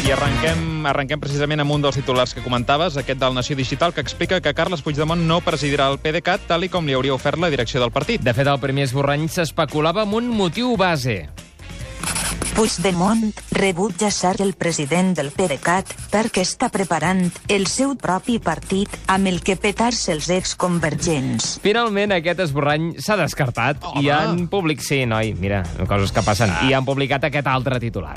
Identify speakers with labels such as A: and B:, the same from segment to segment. A: I arrenquem, arrenquem precisament amb un dels titulars que comentaves, aquest del Nació Digital, que explica que Carles Puigdemont no presidirà el PDeCAT tal i com li hauria ofert la direcció del partit.
B: De fet, al primer esborrany s'especulava amb un motiu base.
C: Puigdemont rebutja ser el president del PDeCAT perquè està preparant el seu propi partit amb el que petar-se els exconvergents.
B: Finalment, aquest esborrany s'ha descartat Home. i han public... Sí, noi, mira, coses que passen.
A: Ah.
B: I han publicat aquest altre titular.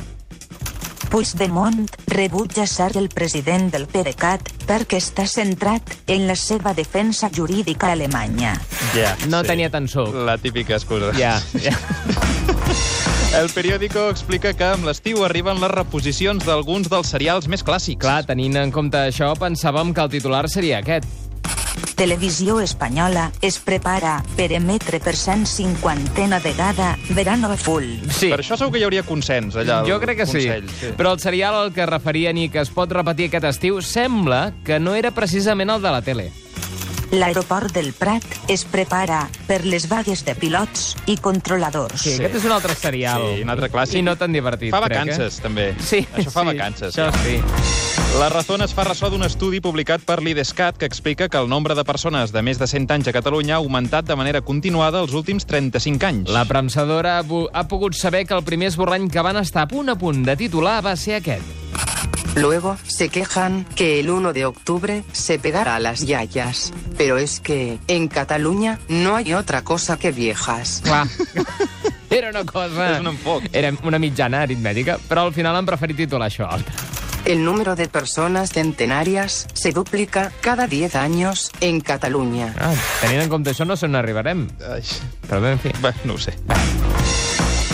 C: Puigdemont rebutja ser el president del PDeCAT perquè està centrat en la seva defensa jurídica a Alemanya.
A: Ja,
B: No tenia tan suc.
A: La típica excusa.
B: Ja, ja.
A: El periòdico explica que amb l'estiu arriben les reposicions d'alguns dels serials més clàssics.
B: Clar, tenint en compte això, pensàvem que el titular seria aquest.
C: Televisió espanyola es prepara per emetre per 150a vegada Verano Full.
B: Sí.
A: Per això segur que hi hauria consens allà. al
B: Jo crec que sí.
A: Consell, sí.
B: Però el serial al que es referien i que es pot repetir aquest estiu sembla que no era precisament el de la tele.
C: L'aeroport del Prat es prepara per les vagues de pilots i controladors.
B: Sí, aquest és un altre serial.
A: Sí, un altre clàssic.
B: I no tan divertit,
A: Fa
B: crec,
A: vacances,
B: eh?
A: també.
B: Sí,
A: Això fa
B: sí,
A: vacances.
B: Això sí.
A: La Razón es fa ressò d'un estudi publicat per l'IDESCAT que explica que el nombre de persones de més de 100 anys a Catalunya ha augmentat de manera continuada els últims 35 anys.
B: La premsadora ha, vo- ha pogut saber que el primer esborrany que van estar a punt a punt de titular va ser aquest.
D: Luego se quejan que el 1 de octubre se pegará a las yayas. Pero es que en Cataluña no hay otra cosa que viejas.
B: Clar. Era una cosa...
A: És un enfoc.
B: Era una mitjana aritmètica, però al final han preferit titular això. Ah,
D: El número de personas centenarias se duplica cada 10 años en Cataluña.
B: Ah, tenint en compte això, no sé on arribarem.
A: Ai,
B: Però bé, en fi.
A: bé, no ho sé.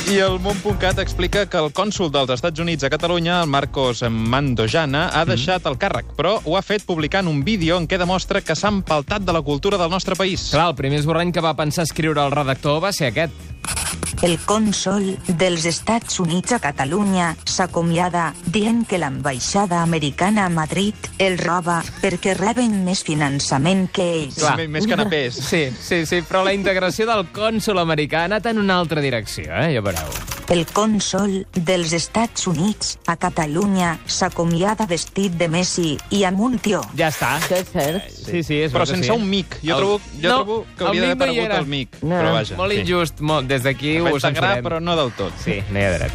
A: I el món.cat explica que el cònsul dels Estats Units a Catalunya, el Marcos Mandojana, ha
B: Mm-hmm.
A: deixat el càrrec, però ho ha fet publicant un vídeo en què demostra que s'ha empaltat de la cultura del nostre país.
B: Clar, el primer esborrany que va pensar escriure el redactor va ser aquest.
C: El cònsol dels Estats Units a Catalunya s'acomiada dient que l'ambaixada americana a Madrid el roba perquè reben més finançament que ells.
B: Clar.
A: M- Més canapés.
B: Sí, sí, sí, però la integració del cònsol americà ha anat en una altra direcció, eh? Ja veureu.
C: El cònsol dels Estats Units a Catalunya s'acomiada vestit de Messi i amb un tió.
B: Ja està.
E: Això és cert.
B: Sí, sí, és
A: Però
B: que
A: sense
B: sí.
A: un mic. Jo
B: El-
A: trobo, jo
B: no,
A: trobo que hauria
B: el
A: d'haver
B: mic no hi
A: aparegut
B: era.
A: el mic.
E: No.
A: Però vaja.
B: Molt
A: sí.
B: injust, molt, des d'aquí
A: Em
B: ho
A: va integrar,
B: censurem.
A: però no del tot.
B: Sí, no hi ha dret.